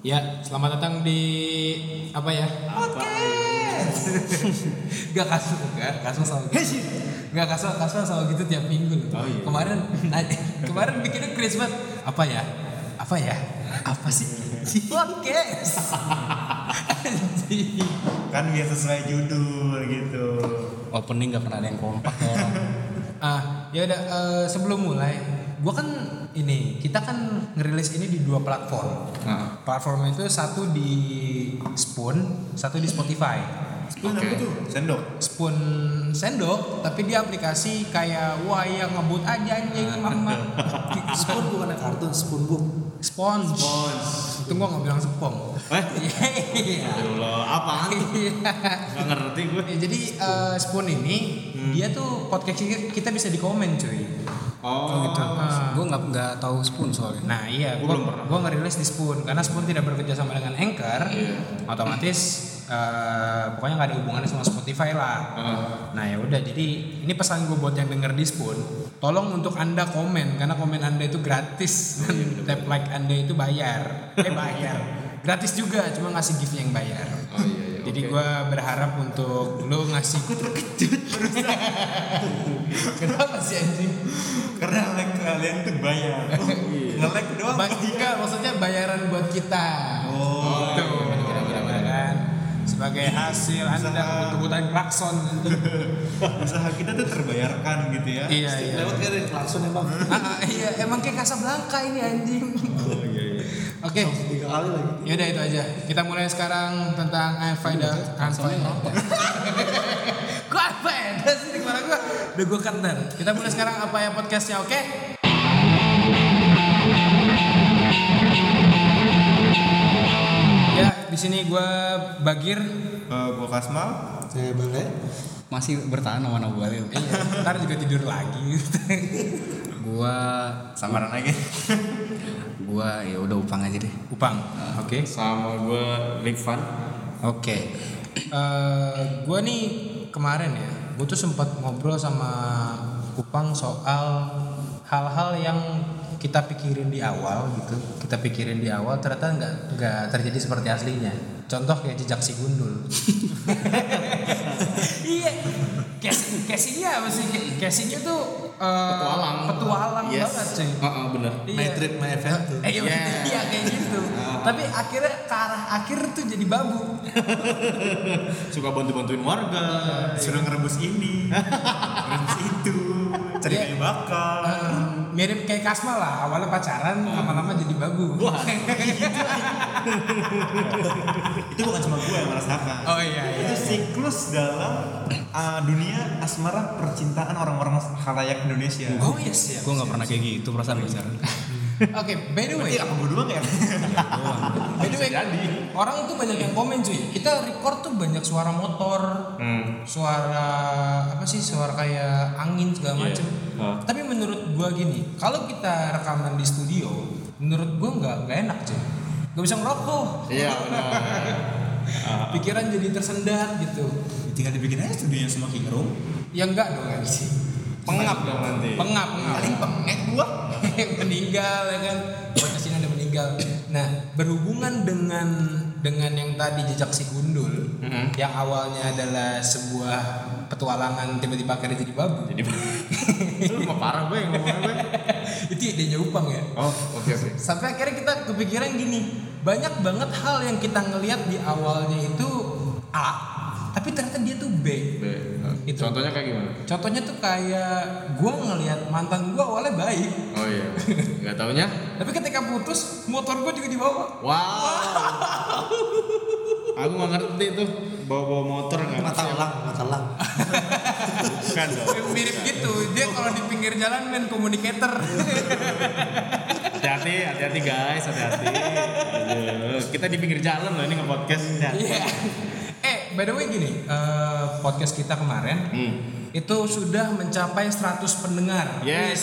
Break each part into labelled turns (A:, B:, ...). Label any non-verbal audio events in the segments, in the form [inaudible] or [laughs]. A: Ya, selamat datang di apa ya? [laughs] Gak kasus enggak, kasus sama gitu. Gak kasus, kasus sama gitu tiap minggu loh.
B: Oh, iya.
A: Kemarin kemarin bikinnya Christmas apa ya? Apa ya? Apa sih? Podcast. Anjing.
B: kan biar sesuai judul gitu
C: opening nggak pernah ada yang kompak ya orang.
A: [laughs] Ah, ya udah eh, sebelum mulai, gua kan ini, kita kan ngerilis ini di dua platform.
C: Ah.
A: Platform itu satu di Spoon, satu di Spotify.
B: Spoon apa tuh? Sendok
A: Spoon sendok, tapi dia aplikasi kayak wayang ngebut aja anjing
C: Ah. [laughs]
A: mama.
D: Spoon bukan kartun, spoon book.
A: Sponge. Itu gua nggak bilang sepong. [laughs]
B: Eh?
A: Iya.
B: Ya Allah, apaan tuh? Gak ngerti gue
A: Ya, jadi eh, Spoon ini
B: Hmm.
A: dia tuh podcast kita bisa dikomen cuy.
B: Oh,
A: gitu. Ah.
C: Gue nggak nggak tahu spoon soalnya.
A: Nah iya,
B: Gua
A: gua,
B: belum pernah.
A: gua ngerilis di Spoon karena Spoon tidak bekerja sama dengan Anchor,
B: Iya.
A: otomatis eh, pokoknya nggak ada hubungannya sama Spotify lah. Nah ya udah, jadi ini pesan gue buat yang denger di Spoon, tolong untuk anda komen karena komen anda itu gratis
B: Oh, iya,
A: dan tap like anda itu bayar, eh bayar,
B: [laughs]
A: gratis juga cuma ngasih gift yang bayar.
C: Oh iya
A: Jadi gua berharap untuk lo ngasih Aku terkejut [laughs] Kenapa sih anjing?
B: karena like kalian tuh bayar Nge-like doang
A: Ba- enggak, maksudnya bayaran buat kita.
B: Oh,
A: gitu. Ya kan? Sebagai hasil Anda
B: Usaha.
A: kebutuhan klakson.
B: Usaha kita tuh terbayarkan gitu ya
A: iya, iya.
D: Lewat kan dari klakson emang.
A: Ah, iya, emang kayak Casablanca ini anjing.
B: Oh iya iya
A: Oke.
D: Tiga kali lagi.
A: Yaudah itu aja. Kita mulai sekarang tentang I find a I find a- [laughs] Gua apa ya? Udah sini kepala gua. Udah gua kender. Kita mulai sekarang apa ya podcastnya, oke? Ya, di sini gua Bagir.
B: Eh, Gue Kasmal
D: Saya balik.
C: Masih bertahan sama Nabalil.
A: Iya, ntar juga tidur lagi. [laughs]
C: Gua
B: Samaran lagi
C: gua ya udah upang aja deh.
A: Upang. Oke.
E: sama gue Rifan
A: Oke. Eh, gua nih kemarin ya, gua tuh sempat ngobrol sama Kupang soal hal-hal yang kita pikirin di awal gitu. Kita pikirin di awal ternyata nggak nggak terjadi seperti aslinya. Contoh kayak jejak si gundul. [laughs] iya. Casing, casingnya apa sih? Casingnya tuh eh,
E: Petualang.
A: petualang
E: Yes.
A: banget cuy. Iya.
E: ah ah, bener
D: My trip, my adventure.
A: Eh, iya,
E: Yeah.
A: iya, kayak
E: [laughs]
A: gitu. Tapi akhirnya ke arah akhir tuh jadi babu.
E: suka bantu bantuin warga
B: Iya. Suruh ngerebus ini Ngerebus itu Cari
A: Iya.
B: kayu bakar
A: Eh, mirip kayak Kasma lah, awalnya pacaran, lama-lama jadi babu.
B: Itu bukan cuma gue yang merasakan
A: [laughs] Oh, iya, iya.
B: Itu siklus dalam uh, dunia asmara percintaan orang-orang khalayak Indonesia
A: oh yes ya.
C: Gua nggak pernah kayak gitu perasaan pacaran.
A: Oke, by the way,
B: Iya, apa gue doang ya?
A: by the way, orang tuh banyak yang komen cuy. Kita record tuh banyak suara motor, suara apa sih, suara kayak angin segala macem.
E: Hah.
A: Tapi menurut gua gini, kalau kita rekaman di studio, menurut gua nggak nggak enak cuy. Gak bisa ngerokok. [laughs]
E: iya bener
A: Pikiran jadi tersendat gitu.
B: Tinggal dibikin aja studionya semua king room
A: Ya enggak dong kan sih.
E: pengap dong nanti
A: Pengap, pengap.
B: Paling pengek gua
A: [laughs] meninggal ya kan podcast ini ada meninggal nah berhubungan dengan dengan yang tadi jejak si gundul
E: Mhm.
B: Mm-hmm.
A: yang awalnya adalah sebuah petualangan tiba-tiba akhirnya jadi
B: [laughs]
A: babu
E: jadi lu mah parah gue yang ngomongnya gue
A: itu idenya upang ya
E: oh oke oke
A: sampai akhirnya kita kepikiran gini banyak banget hal yang kita ngelihat di awalnya itu A tapi ternyata dia tuh B
E: Be, eh,
A: Itu.
E: contohnya kayak gimana
A: contohnya tuh kayak gua ngelihat mantan gua awalnya baik
E: oh iya [laughs] nggak taunya
A: tapi ketika putus motor gua juga dibawa
E: wow aku nggak ngerti tuh bawa bawa motor nggak
D: Mata elang, mata elang.
B: Bukan dong
A: mirip gitu dia kalau di pinggir jalan main komunikator
E: hati-hati hati-hati guys hati-hati Aduh, kita di pinggir jalan loh ini nge podcast
A: Iya. [laughs] eh by the way gini eh, podcast kita kemarin
E: Hmm.
A: itu sudah mencapai 100 pendengar
E: yes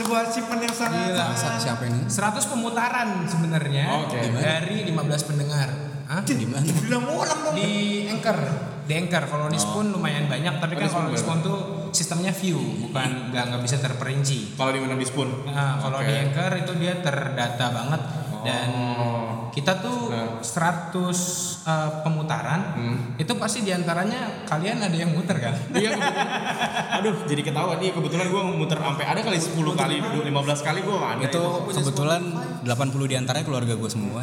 B: Sebuah achievement yang sangat
A: Gila,
C: Sa- siapa ini?
A: 100 pemutaran sebenarnya
E: Oke.
A: dari 15 pendengar Hah?
C: Di mana?
B: Bilang "Oh, ulang dong
A: di anchor di anchor kalau di spoon lumayan banyak tapi
E: Oh,
A: kan
E: di
A: kalau
E: Spoon
A: di
E: berapa?
A: spoon tuh sistemnya view bukan nggak nggak bisa terperinci
E: kalau di mana di spoon
A: Nah, kalau
E: Oke. Oh.
A: di Anchor itu dia terdata banget dan kita tuh
E: Nah.
A: 100 eh, pemutaran
E: Hmm.
A: itu pasti diantaranya kalian ada yang muter kan
E: Iya kebetulan. Aduh, jadi ketawa nih kebetulan gue muter sampai ada kali 10 kali, 15 kali gue ada.
C: itu kebetulan 80 diantaranya keluarga gue semua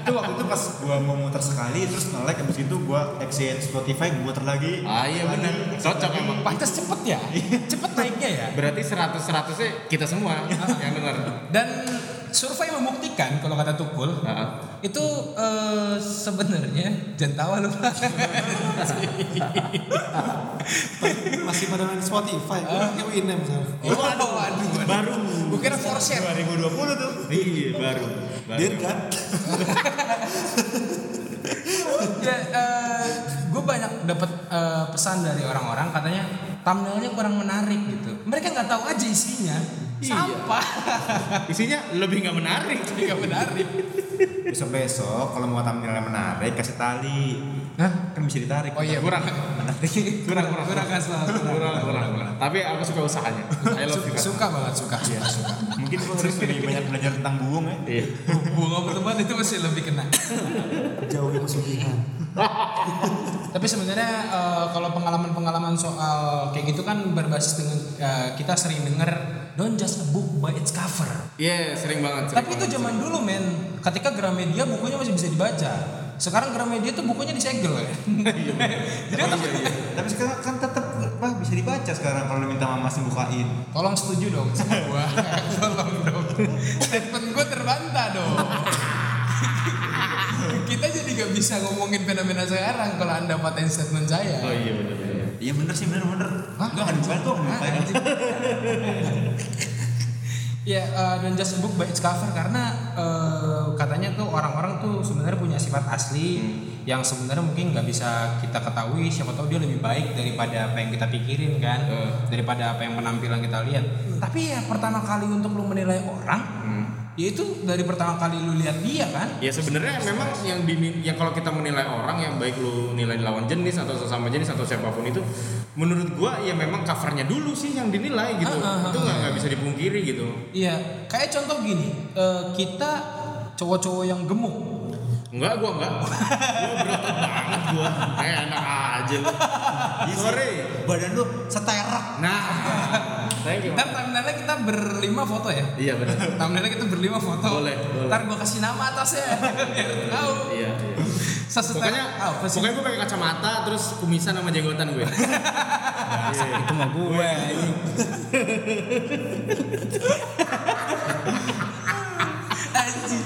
B: itu waktu itu pas gua mau muter sekali terus nge-lag abis itu gua exit Spotify gua muter lagi
E: Ah iya
B: lagi, [laughs]
E: benar.
B: exit
E: Cocok
B: lagi.
E: emang. Iya.
A: pantas cepet ya cepet naiknya ya
E: Berarti 100 100 nya kita semua yang dengar.
A: dan survei membuktikan kalau kata Tukul
E: Heeh.
A: itu eh, sebenarnya jangan tawa lu
E: [laughs]
D: Masih pada main Spotify. Gue
E: Ah.
D: pakai Winem sekarang.
A: waduh waduh
E: Baru.
A: bukan for share
B: 2020 tuh
E: Iya, baru. Baru.
D: Dia kan.
A: ya, gue banyak dapat eh, pesan dari orang-orang katanya thumbnailnya kurang menarik gitu. Mereka nggak tahu aja isinya.
E: Iya.
A: Sampah.
E: Isinya lebih nggak menarik.
A: Jadi nggak menarik.
B: besok besok kalau mau tampil yang menarik kasih tali
A: [laughs] Hah?
B: kan bisa ditarik
A: Oh iya,
E: Kurang. Kurang, kurang.
A: Kurang kan selalu.
E: Kurang, kurang, kurang. Tapi aku suka usahanya. [laughs] I love you.
A: Su- suka banget suka. suka, suka.
B: mungkin gua harus lebih banyak belajar tentang buung ya
E: Iya.
A: Bunga pertemuan itu masih lebih kena.
D: Jauhi pesugihan.
A: Tapi sebenarnya eh, kalau pengalaman-pengalaman soal kayak gitu kan berbasis dengan eh, kita sering denger don't just a book by its cover.
E: Iya, sering banget. sering
A: Tapi itu
E: banget.
A: zaman dulu men, ketika Gramedia bukunya masih bisa dibaca. Sekarang Gramedia tuh bukunya disegel ya. [laughs] Jadi otak-
B: tapi sekarang kan tetap apa bisa dibaca sekarang kalau minta mama sih bukain
A: tolong setuju dong sama gua. [laughs] tolong dong. Statement gua terbantah [laughs] dong. Kita jadi gak bisa ngomongin fenomena sekarang kalau anda patahin statement saya.
E: Oh iya benar benar.
B: iya bener sih bener bener
A: Hah?
B: gua akan dibukain tuh akan dibukain
A: Ya, eh, don't just a book by its cover karena eh, katanya tuh orang-orang tuh sebenarnya punya sifat asli yang sebenarnya mungkin nggak bisa kita ketahui. Siapa tahu dia lebih baik daripada apa yang kita pikirin kan,
E: Eh.
A: daripada apa yang penampilan kita lihat. Tapi ya pertama kali untuk lu menilai orang, yaitu dari pertama kali lu lihat dia kan.
E: Ya sebenarnya memang yang di yang kalau kita menilai orang yang baik lu nilai lawan jenis atau sesama jenis atau siapapun itu menurut gua ya memang covernya dulu sih yang dinilai gitu.
A: Ah, ah,
E: itu nggak nggak bisa dipungkiri gitu.
A: Iya, kayak contoh gini, eh, kita cowok-cowok yang gemuk
E: Enggak gua
A: [laughs]
E: enggak. gua berat banget gua. Eh, enak aja lu.
A: Iya.
E: Sorry.
B: badan lu seterak
E: Nah. Thank you.
A: Ntar thumbnailnya kita berlima foto ya.
E: Iya benar.
A: Thumbnailnya kita berlima foto.
E: Boleh, boleh.
A: Ntar gua kasih nama atasnya. Biar tahu.
E: Iya, iya.
A: Sesetel-
E: Pokoknya,
A: Ah, apa sih?
E: pokoknya gue pakai kacamata terus kumisan sama jenggotan gue.
C: itu mah gue
A: Anjing.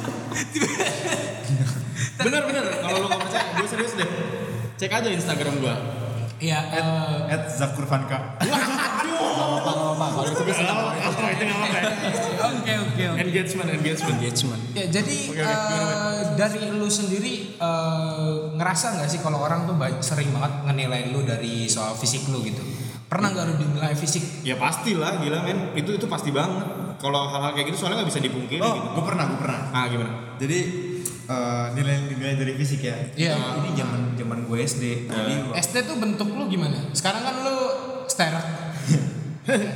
E: bener bener. Kalau lu nggak percaya, gue serius deh. Cek aja Instagram gue.
A: Iya, eh,
B: at Zakurvanka
A: oke oke oke.
E: Engagement, engagement.
C: engagement
A: Ya, jadi eh, dari lu sendiri eh, ngerasa nggak sih kalau orang tuh ba- sering banget ngenilai lu dari soal fisik lu gitu? Pernah nggak lu dinilai fisik?
E: Ya pastilah, gila men. Itu itu pasti banget. Kalau hal-hal kayak gitu soalnya nggak bisa dipungkiri.
B: oh
E: Gitu.
B: gua pernah gua pernah
E: Ah gimana?
B: jadi eh, nilai nilai dari fisik ya
A: Iya.
B: ini zaman zaman gue SD jadi
A: SD tuh bentuk lu gimana? Sekarang kan lu sterak.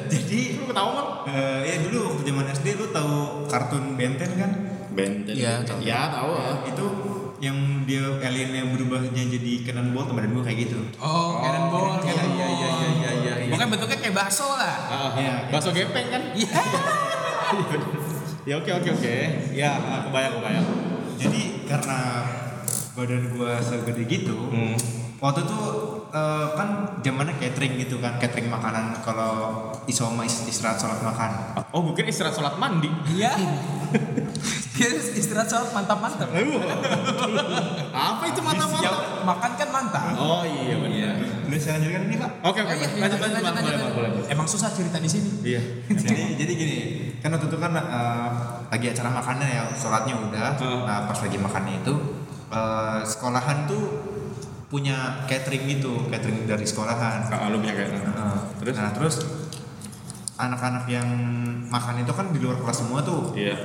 B: jadi
E: Lu ketawa kan?
B: eh, ya dulu waktu zaman SD lu tahu kartun Benten kan
E: Benten.
C: Iya, tahu.
E: Ya tahu. ah.
B: itu yang dia alien yang berubahnya jadi cannonball badan gue kayak gitu
A: Oh, cannonball,
B: iya,
A: cannonball.
B: iya, iya, iya, iya, iya, iya.
A: Pokoknya bentuknya kayak bakso lah.
E: Ah,
B: Iya.
E: Bakso gepeng kan?
A: Iya.
E: Ya oke oke oke. Ya ah, kebayang kebayang.
B: jadi karena badan gua segede gitu
E: Hmm.
B: waktu itu eh, kan zamannya catering gitu kan catering makanan kalau isoma is- istirahat sholat makan
E: Oh mungkin istirahat sholat mandi.
A: Iya. Dia istirahat soal mantap-mantap.
E: Aduh. Apa itu mata-mata?
A: Makan kan mantap.
E: Oh iya benar.
B: udah saya lanjutkan ini pak
E: Oke
A: Oh,
E: oke.
A: iya, iya,
E: Lanjut lanjut Pak. boleh Pak, boleh. Pak.
A: Emang susah cerita di sini.
E: Iya.
B: jadi jadi gini kan waktu itu kan eh, lagi acara makanan ya sholatnya udah
E: Hmm.
B: nah pas lagi makannya itu eh, sekolahan tuh punya catering gitu catering dari sekolahan
E: Kalau Ah, lu punya kayak
B: Nah,
E: Hmm. Terus?
B: nah terus anak-anak yang makan itu kan di luar kelas semua tuh
E: Iya.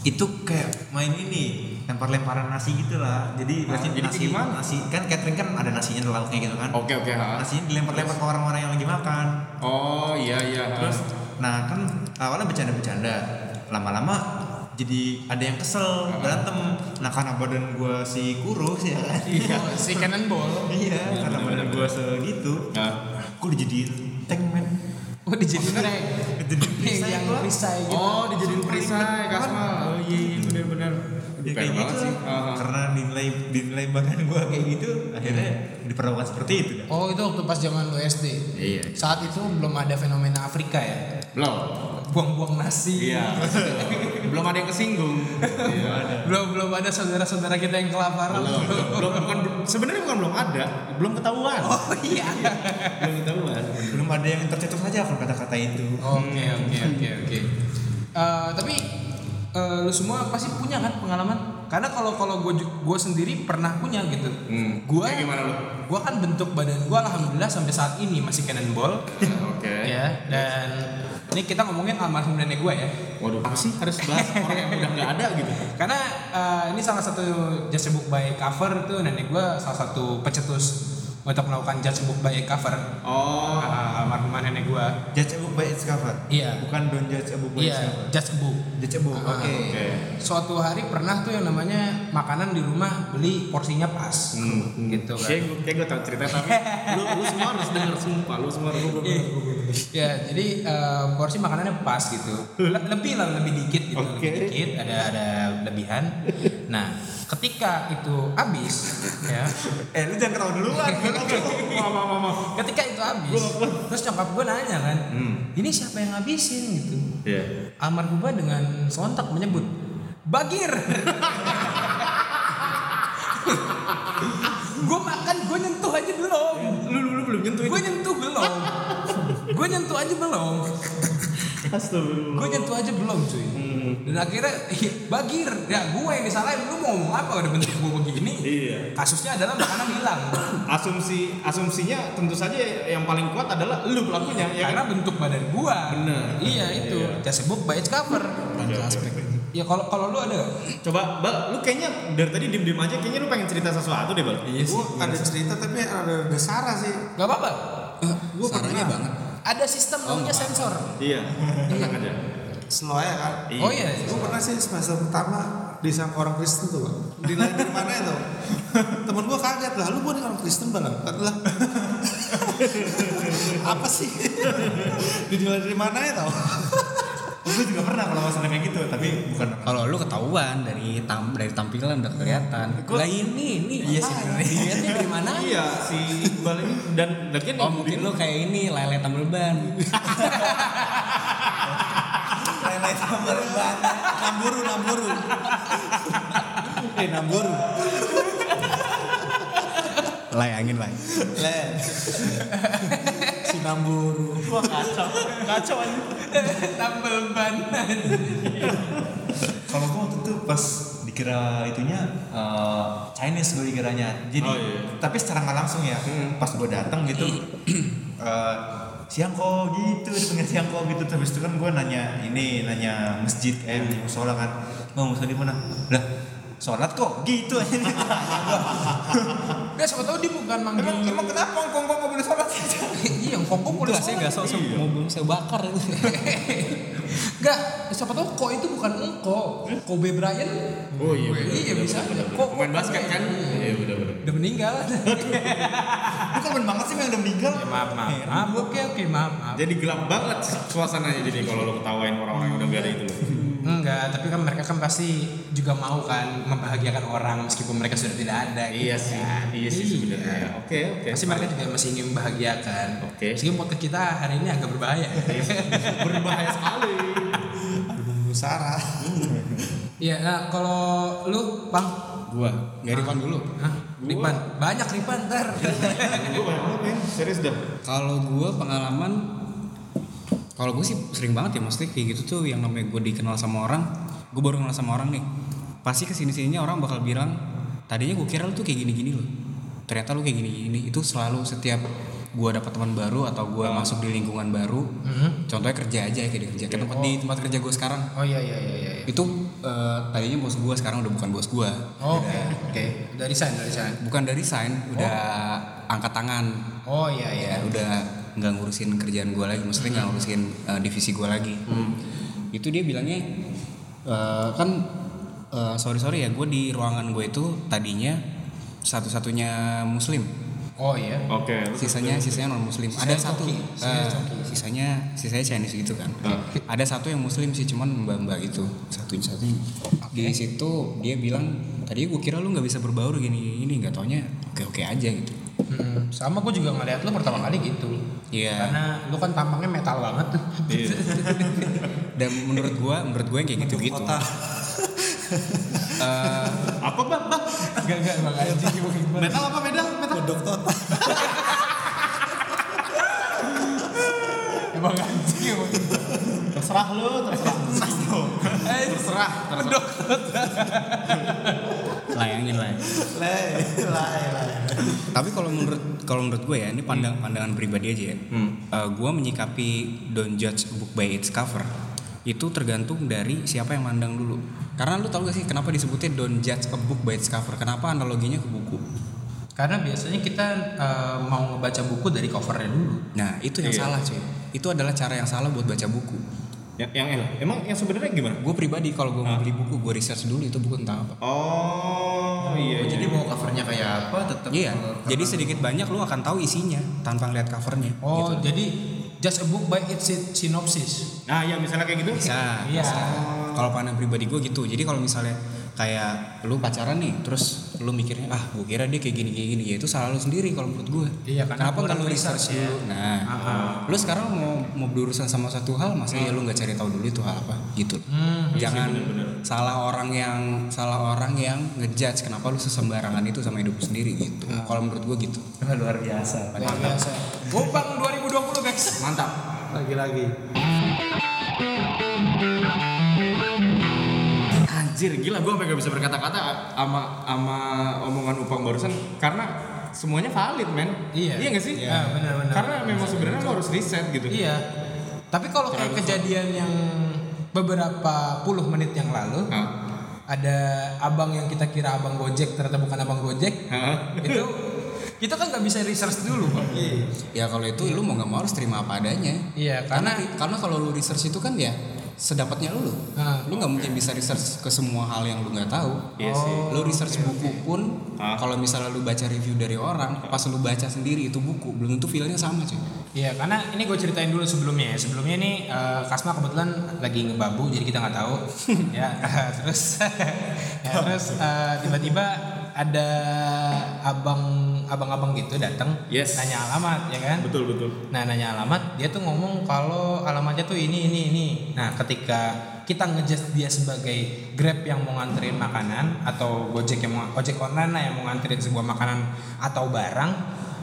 B: itu kayak main ini lempar-lemparan nasi gitu lah jadi
E: Ah,
B: nasi,
E: jadi
B: nasi,
E: gimana?
B: nasi kan catering kan ada nasinya ada lauknya gitu kan
E: Oke oke. ah.
B: nasinya dilempar-lempar ke orang-orang yang lagi makan
E: Oh iya iya.
B: terus nah kan awalnya bercanda-bercanda lama-lama jadi ada yang kesel berantem nah karena badan gua si kurus ya kan
A: Iya, si cannonball.
B: iya karena badan gua segitu
E: Nah.
B: aku dijadiin tank man
A: Oh, dijadiin kayak
B: jadi perisai
A: Iya, yang
B: gua.
A: perisai gitu.
E: Oh, dijadiin perisai,
B: Kan.
E: Kasmal. Oh iya, iya benar-benar.
B: Ya, kayak gitu
E: Heeh.
B: karena nilai nilai badan gua kayak gitu akhirnya diperlakukan seperti itu dah.
A: Oh, itu waktu pas zaman lu SD.
E: Iya.
A: Saat itu belum ada fenomena Afrika ya.
E: Belum.
A: Buang-buang nasi.
E: Iya. belum ada yang kesinggung. Iya.
A: Belum belum ada saudara-saudara kita yang kelaparan.
E: Belum. belum bukan sebenarnya bukan belum ada, belum ketahuan.
A: Oh iya.
E: [laughs] Belum ketahuan.
B: belum ada yang tercetus aja kalau kata-kata itu
A: Oke, oke, oke, oke. Eh, tapi eh, lu semua pasti punya kan pengalaman? Karena kalau kalau gue gue sendiri pernah punya gitu.
E: Hmm.
A: Gua
E: Kayak gimana lu?
A: Gua kan bentuk badan gua alhamdulillah sampai saat ini masih cannonball
E: [laughs] Oke.
A: ya dan ini kita ngomongin almarhum nenek gua ya.
E: Waduh, apa sih harus bahas orang yang udah nggak ada gitu?
A: Karena eh, ini salah satu judge a book by cover tuh nenek gua salah satu pecetus untuk melakukan judge a book by cover
E: Oh,
A: Ah, almarhumah nenek gua.
B: judge a book by its cover
A: Iya.
B: bukan don't judge a book by
A: Iya,
B: its cover
A: judge a book.
B: judge a book
A: Ah,
B: oke
E: oke.
A: Suatu hari pernah tuh yang namanya makanan di rumah beli porsinya pas. Gitu kan.
E: Kayak gue, kayak gue tau cerita tapi lu, lu semua harus denger sumpah, lu semua harus denger.
A: ya jadi eh, porsi makanannya pas gitu Le- lebih lah lebih dikit gitu
E: Oke.
A: lebih dikit ada ada lebihan nah ketika itu habis ya
B: eh lu jangan ketawa
E: [laughs]
B: duluan
E: Mama, mama.
A: ketika itu habis terus nyokap gue nanya kan ini siapa yang ngabisin gitu
E: Iya.
A: almarhumah dengan sontak menyebut bagir [laughs] gue makan gue nyentuh aja belum
E: Lu, lu, lu belum nyentuh itu.
A: gue nyentuh belum gue nyentuh aja belum
E: Astagfirullah.
A: gue nyentuh aja belum cuy
E: Hmm.
A: dan akhirnya iya, bagir ya gue yang disalahin lu mau ngomong apa udah bentuk gue begini
E: Iya.
A: kasusnya adalah makanan hilang
E: Asumsi asumsinya tentu saja yang paling kuat adalah lu pelakunya ya
A: karena
E: kan?
A: bentuk badan gua
E: Bener.
A: iya itu
E: Iya.
A: just a book by its cover
E: Oke,
C: aspek.
A: ya kalau kalau lu ada nggak?
E: Coba, Bal, lu kayaknya dari tadi diem-diem aja kayaknya lu pengen cerita sesuatu deh, Bal.
D: Iya ada cerita tapi ada ada Sarah sih.
A: nggak apa-apa
D: Gue
C: Sarannya
D: pernah
C: banget.
A: ada sistem namanya sensor
E: Iya. Tenang aja.
D: slow ya kan.
E: Iya.
A: oh iya
D: Gue pernah sih semester pertama di sang orang Kristen tuh, Bang. di lain dari mana itu? Temen gue kaget lah, lu bukan orang Kristen bang? Kata Lah, apa sih? Dinilai dari mana ya
B: [laughs]
D: tau?
B: gue juga pernah kalau masalah kayak gitu tapi bukan
C: Kalau lu ketahuan dari tam dari tampilan udah kelihatan. Lah ini ini.
A: Iya sih, bener.
C: Dilihatnya dari mana?
E: Iya, si Iqbal ini dan dan
C: Oh mungkin lu kayak ini lele tambal ban.
D: Lain-lain tambah ban, namburu, namburu. Eh, namburu.
C: Lay angin lay.
D: Leh. Si namburu.
E: Wah, kacau. Kacau anjing.
A: tambel ban
B: kalau gue waktu itu pas dikira itunya eh, Chinese gue dikiranya jadi
E: Oh, iya.
B: tapi secara nggak langsung ya
D: Hmm.
B: pas gue datang gitu
D: Iya.
B: [clears throat] eh, siang kok gitu pengen siang kok gitu terus itu kan gue nanya ini nanya masjid eh nanya musola kan mau musola di mana lah sholat kok gitu aja
A: nggak siapa tahu dia bukan manggil
B: emang emang kenapa kok kok boleh sholat
A: [laughs] iya yang kok boleh Iya.
C: Saya
A: sholat.
C: nggak sok mau belum saya
A: [laughs]
C: bakar.
A: Enggak, siapa tahu kok itu bukan engko. Kobe Bryant.
E: Oh iya. bener,
A: Iya,
E: bener,
A: bisa aja.
E: bener, bener.
A: Kok-
E: Pemain basket kan? Iya, udah benar.
A: Udah meninggal.
B: lu kan banget sih yang udah meninggal
A: Ya, maaf, maaf.
B: Heran.
A: Maaf, oke, oke, maaf, maaf.
E: Jadi gelap banget suasananya jadi kalau lo ketawain orang-orang yang udah gak ada itu. lo.
A: Enggak, tapi kan mereka kan pasti juga mau kan membahagiakan orang meskipun mereka sudah tidak ada.
E: Iya
A: gitu
E: sih,
A: kan.
E: iya sih sebenarnya. Oke, oke.
A: Pasti mereka juga masih ingin membahagiakan.
E: Oke.
A: Meskipun podcast kita hari ini agak berbahaya. [laughs]
E: berbahaya sekali.
D: Namburu Sarah.
A: Iya, nah kalau lu, Bang,
C: Gua nggak
E: Ah.
C: Rifan dulu.
A: Hah?
E: Gua-
A: Ripan, banyak Ripan ntar.
E: Gue banyak banget ya, serius dah.
C: Kalau gua pengalaman kalau gue sih sering banget ya mostly kayak gitu tuh yang namanya gue dikenal sama orang gue baru kenal sama orang nih pasti kesini sininya orang bakal bilang tadinya gue kira lu tuh kayak gini gini loh ternyata lu kayak gini gini itu selalu setiap gua dapat teman baru atau gua masuk di lingkungan baru contohnya kerja aja kayak di kerja ke tempat di tempat kerja gue sekarang
A: Oh iya iya iya iya.
C: itu eh, tadinya bos gua sekarang udah bukan bos gua
A: Oke, oke. Dari sana, dari sana.
C: bukan dari sign udah angkat tangan
A: Oh iya iya.
C: ya udah nggak
A: Hmm.
C: ngurusin kerjaan gua lagi maksudnya nggak ngurusin eh, divisi gua lagi itu dia bilangnya eh, kan eh, sorry sorry ya gue di ruangan gue itu tadinya satu-satunya muslim
A: Oh iya.
E: Oke. terus-
C: sisanya sisanya non muslim ada
A: Sisanya
C: satu
A: coki, sisanya
C: eh,
A: coki. Ah.
C: sisanya sisanya Chinese gitu kan ada satu yang muslim sih cuman mbak mbak itu satu satu di situ dia bilang tadi gue kira lu nggak bisa berbaur gini ini nggak taunya oke oke aja gitu
A: Mm-mm. Hmm, sama gue juga ngeliat lu pertama kali gitu.
C: Iya.
A: Karena lu kan tampangnya metal banget tuh.
C: dan menurut gue menurut gue kayak gitu gitu
E: Apa bang? Bang?
A: Gak gak emang anjing gimana gimana.
E: Metal apa metal? Metal.
D: Kodok tot.
A: Emang anjing emang.
B: Terserah lu, terserah.
A: Terserah. terserah.
C: layangin lah tapi kalau menurut kalau menurut gue ya ini pandang pandangan pribadi aja ya
E: Hmm.
C: Eh, gue menyikapi don't judge a book by its cover itu tergantung dari siapa yang mandang dulu karena lu tau gak sih kenapa disebutnya don't judge a book by its cover kenapa analoginya ke buku
A: Karena biasanya kita eh, mau ngebaca buku dari covernya dulu.
C: nah itu yang
E: Iya.
C: salah cuy itu adalah cara yang salah buat baca buku
E: Yang, yang L. Emang yang sebenarnya gimana?
C: gue pribadi kalau gue mau beli buku gue research dulu itu buku tentang apa
E: Oh iya.
B: Jadi mau covernya kayak apa tetap
C: iya jadi sedikit banyak lu akan tahu isinya tanpa ngeliat covernya
A: Oh
C: gitu.
A: jadi just a book by its sin- synopsis.
E: Nah ya misalnya kayak gitu.
C: bisa
A: Iya.
C: bisa. kalau pandang pribadi gue gitu jadi kalau misalnya kayak lu pacaran nih terus lu mikirnya ah gue kira dia kayak gini kayak gini ya itu salah lu sendiri kalau menurut gue
A: Iya, karena
C: kenapa
A: gua
C: nggak lu
A: udah
C: research
A: research ya.
C: dulu nah
A: Aha.
C: lu sekarang mau mau berurusan sama satu hal masa ya lu nggak cari tahu dulu itu hal apa gitu
A: Hmm.
C: jangan salah orang yang salah orang yang ngejudge kenapa lu sesembarangan itu sama hidup lu sendiri gitu kalau menurut gue gitu
B: luar biasa.
A: Luar biasa. Gopang 2020 guys.
C: mantap
D: Lagi-lagi.
E: Anjir gila gue sampai gak bisa berkata-kata sama sama omongan Upang barusan karena semuanya valid men.
A: Iya.
E: Iya gak sih?
A: Iya, benar-benar.
E: Karena memang sebenarnya lo harus riset gitu.
A: Iya. Tapi kalau kayak kejadian yang beberapa puluh menit yang lalu
E: Hah?
A: ada abang yang kita kira abang Gojek ternyata bukan abang Gojek
E: Hah?
A: itu kita kan nggak bisa research dulu Bang.
C: ya kalau itu lu mau nggak mau harus terima apa adanya
A: Iya
C: karena
A: karena
C: karena kalau lu research itu kan ya sedapatnya lu
A: Ah,
C: lu nggak mungkin bisa research ke semua hal yang lu nggak tahu Oh.
E: Iya sih.
C: lu research buku pun
E: Ah.
C: kalau misalnya lu baca review dari orang pas lu baca sendiri itu buku belum tentu feelnya sama cuy
A: Iya, karena ini gue ceritain dulu sebelumnya. ya. Sebelumnya nih eh, Kasma kebetulan lagi ngebabu, jadi kita nggak tahu. ya [laughs] terus ya, terus eh, tiba-tiba ada abang abang-abang gitu datang
E: Yes.
A: nanya alamat ya kan
E: Betul betul.
A: nah nanya alamat dia tuh ngomong kalau alamatnya tuh ini ini ini nah ketika kita ngejudge dia sebagai grab yang mau nganterin makanan atau gojek yang mau ojek online lah yang mau nganterin sebuah makanan atau barang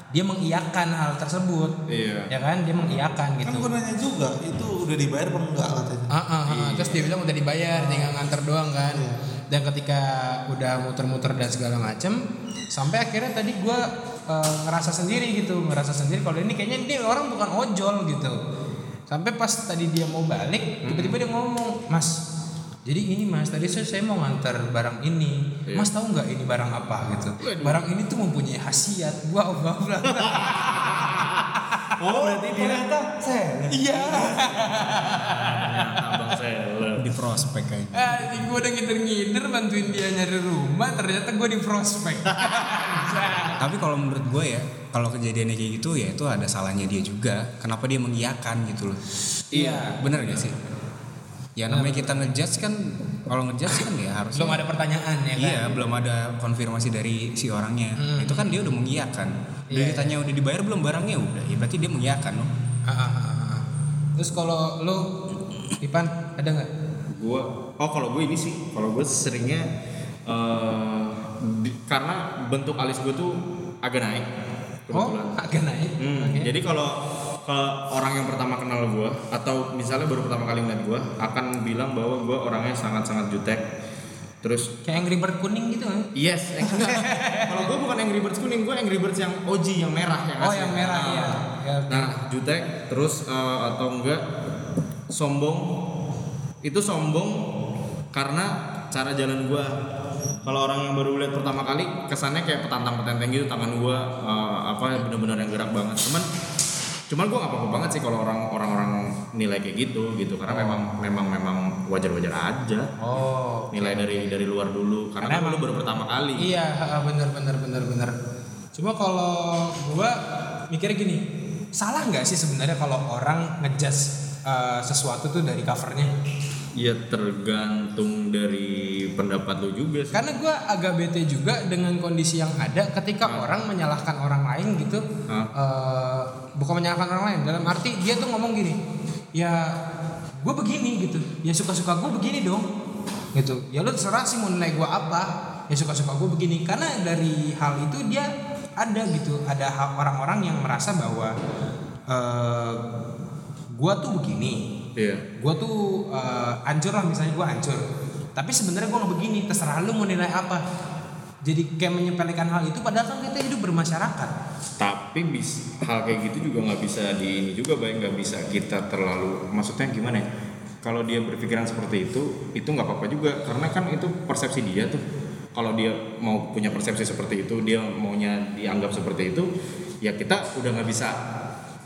A: dia mengiyakan hal tersebut
E: Iya.
A: ya kan dia mengiyakan
D: Kan
A: gitu
D: gue nanya juga, itu udah dibayar apa enggak katanya.
A: Ah, ah, ah. terus dia bilang udah dibayar tinggal nganter doang kan dan ketika udah muter-muter dan segala macem sampai akhirnya tadi gua eh, ngerasa sendiri gitu ngerasa sendiri kalau ini kayaknya ini orang bukan ojol gitu sampai pas tadi dia mau balik tiba-tiba dia ngomong mas jadi ini mas tadi saya, saya mau nganter barang ini mas tahu nggak ini barang apa gitu barang ini tuh mempunyai khasiat [laughs] wow bla bla bla.
B: Oh, berarti ternyata saya.
A: iya
E: Abang saya.
C: di prospek kayak gitu.
A: Ah, gue udah ngider-ngider bantuin dia nyari rumah, ternyata gue di prospek. [laughs]
C: tapi kalau menurut gue ya kalau kejadiannya kayak gitu ya itu ada salahnya dia juga kenapa dia mengiyakan gitu loh
A: Iya.
C: bener gak sih ya namanya kita ngejudge kan kalau ngejudge kan ya harus
A: Belum ada pertanyaan ya kan?
C: Iya, belum ada konfirmasi dari si orangnya.
A: Hmm.
C: Itu kan dia udah mengiyakan.
A: Iya,
C: Dia
A: iya.
C: ditanya udah dibayar belum barangnya udah. Ya berarti dia mengiyakan loh.
A: Ah, ah, ah, ah. Terus kalau lu Ipan ada nggak?
E: Gua oh kalau gue ini sih kalau gue seringnya eh, di- karena bentuk alis gue tuh agak naik
A: Oh,
E: kebetulan.
A: agak naik.
E: Hmm,
A: Oke.
E: Jadi kalau ke orang yang pertama kenal gue atau misalnya baru pertama kali ngeliat gue akan bilang bahwa gue orangnya sangat-sangat jutek. Terus
A: kayak Angry Bird kuning gitu kan?
E: yes,
A: [laughs]
E: eh, enggak. kalau gue bukan Angry Birds kuning, gue Angry Birds yang OG yang merah yang
A: Oh,
E: asli.
A: yang merah
E: Nah,
A: iya. Ya, oke.
E: Nah, jutek terus eh, atau enggak sombong itu sombong karena cara jalan gua. Kalau orang yang baru lihat pertama kali kesannya kayak petantang-petenteng gitu tangan gua eh, apa bener-bener yang gerak banget. Cuman cuman gua nggak apa-apa banget sih kalau orang orang-orang nilai kayak gitu gitu karena memang memang memang wajar-wajar aja
A: Oh.
E: nilai dari dari luar dulu karena,
A: Karena
E: kan lu
A: emang-
E: baru pertama kali
A: Iya, ha, bener bener bener bener. Cuma kalau gua mikirnya gini, salah nggak sih sebenarnya kalau orang ngejudge eh, sesuatu tuh dari covernya?
E: ya tergantung dari pendapat lu juga sih
A: Karena gue agak bete juga dengan kondisi yang ada ketika
E: Ah.
A: orang menyalahkan orang lain gitu.
E: Hah?
A: Eh, bukan menyalahkan orang lain dalam arti dia tuh ngomong gini, ya gue begini gitu, ya suka-suka gue begini dong, gitu. Ya lu terserah sih mau nilai gue apa, ya suka-suka gue begini. Karena dari hal itu dia ada gitu, ada ha- orang-orang yang merasa bahwa eh gue tuh begini,
E: iya
A: gue tuh uh, ancur lah misalnya gue ancur tapi sebenarnya gue nggak begini terserah lu mau nilai apa jadi kayak menyepelekan hal itu padahal kan kita hidup bermasyarakat
E: tapi bis, hal kayak gitu juga nggak bisa di ini juga baik nggak bisa kita terlalu maksudnya gimana ya kalau dia berpikiran seperti itu itu nggak apa-apa juga karena kan itu persepsi dia tuh kalau dia mau punya persepsi seperti itu dia maunya dianggap seperti itu ya kita udah nggak bisa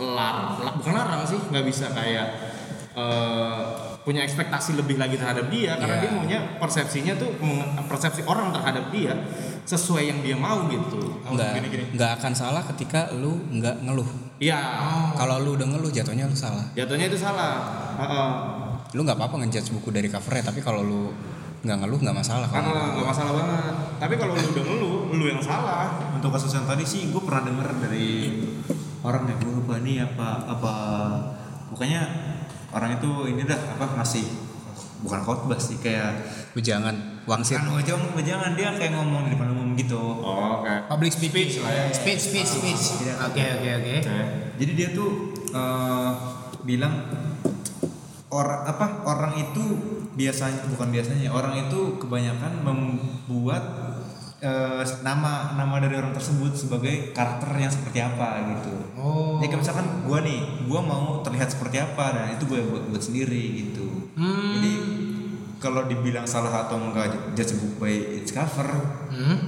E: larang la- bukan larang sih nggak bisa kayak eh, punya ekspektasi lebih lagi terhadap dia karena
A: Iya.
E: dia maunya persepsinya tuh meng- persepsi orang terhadap dia sesuai yang dia mau gitu
C: nggak
E: Gini-gini.
C: nggak akan salah ketika lu nggak ngeluh
E: Iya.
C: kalau lu udah ngeluh jatuhnya lu salah
E: Jatuhnya itu salah. Heeh.
C: lu nggak apa-apa ngejudge buku dari covernya tapi kalau lu nggak ngeluh nggak masalah
E: Karena
C: kalau
E: nggak masalah banget. Tapi kalau lu udah ngeluh, lu yang [laughs] salah.
B: Untuk kasus yang tadi sih gue pernah denger dari orang yang gue lupa nih apa apa pokoknya orang itu ini dah apa masih bukan khotbah sih kayak
C: jangan wangsit
B: kan jangan jangan dia kayak ngomong di depan umum gitu
E: Oh, oke.
A: public speech lah ya speech speech speech oke oke oke
B: Iya. Jadi dia tuh eh, bilang orang apa orang itu biasanya bukan biasanya orang itu kebanyakan membuat eh, nama nama dari orang tersebut sebagai karakter yang seperti apa gitu.
A: oh
B: Ya kayak misalkan gua nih, gua mau terlihat seperti apa dan itu gue buat, buat sendiri gitu.
A: Hmm.
B: Jadi kalau dibilang salah atau enggak judge a book by its cover,
A: hmm?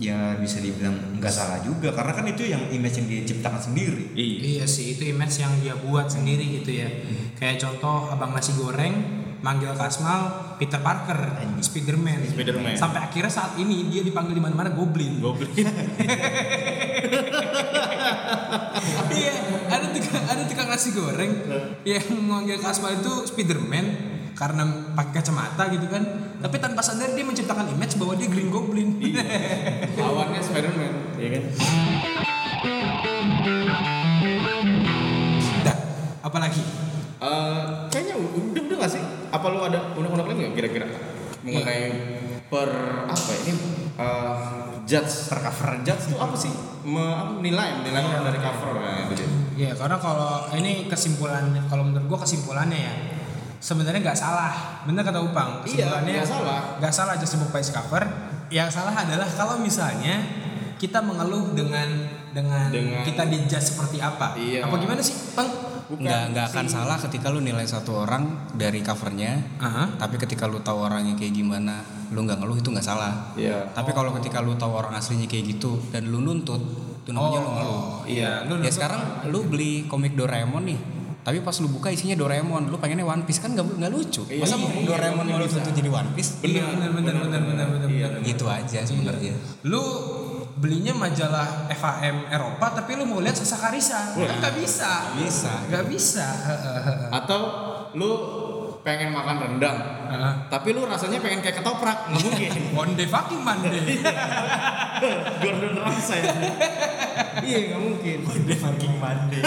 B: ya bisa dibilang nggak salah juga karena kan itu yang image yang dia ciptakan sendiri.
A: iya
E: Iya.
A: sih itu image yang dia buat sendiri gitu ya
E: Hmm.
A: kayak contoh abang nasi goreng manggil Kasmal Peter Parker Spiderman
E: Spiderman.
A: sampai akhirnya saat ini dia dipanggil di mana-mana Goblin
E: Goblin.
A: [laughs] Iya, ada tukang ada tukang nasi goreng yang manggil Kasmal itu Spiderman karena pakai kacamata gitu kan. Tapi tanpa sadar dia menciptakan image bahwa dia Green Goblin.
E: Iya. Lawannya Spiderman, iya kan?
A: [laughs] Dah, apalagi
E: Eh, kayaknya udah udah gak sih? Apa lu ada undang-undang lain nggak kira-kira mengenai per apa ini? Eh, judge per cover judge itu apa sih? Menilai menilai orang dari cover nah, itu dia.
A: Iya, karena kalau ini kesimpulan kalau menurut gua kesimpulannya ya sebenarnya nggak salah. Bener kata Upang.
E: Iya,
A: kesimpulannya
E: nggak salah.
A: Nggak salah aja sebut price cover. Yang salah adalah kalau misalnya kita mengeluh dengan dengan,
E: Dengan-
A: kita dijudge seperti apa.
E: Iya.
A: Apa gimana sih, Bang?
C: nggak nggak akan salah ketika lu nilai satu orang dari covernya
A: Aha.
C: tapi ketika lu tahu orangnya kayak gimana lu nggak ngeluh itu nggak salah
E: Iya.
C: tapi kalau ketika lu tahu orang aslinya kayak gitu dan lu nuntut itu namanya lu ngeluh
E: Iya.
A: Oh, lu
C: ya sekarang lu beli komik Doraemon nih tapi pas lu buka isinya Doraemon lu pengennya One Piece kan nggak nggak lucu
E: Iya,
C: masa
E: iya, iya,
C: Doraemon
E: nggak
C: lu
E: bisa.
C: tuntut jadi One Piece
A: Iya, benar benar benar benar benar.
E: Iya.
A: benar.
C: gitu aja sebenarnya
A: Lu belinya majalah FAM Eropa tapi lu mau lihat Sasakarisa. Kan nggak bisa.
C: bisa
A: Nggak bisa.
E: Atau lu pengen makan rendang,
A: Heeh.
E: tapi lu rasanya pengen kayak ketoprak, nggak mungkin.
A: One day fucking
E: [laughs]
A: Monday.
E: Gordon Ramsay. iya, nggak mungkin.
B: Monday fucking Monday.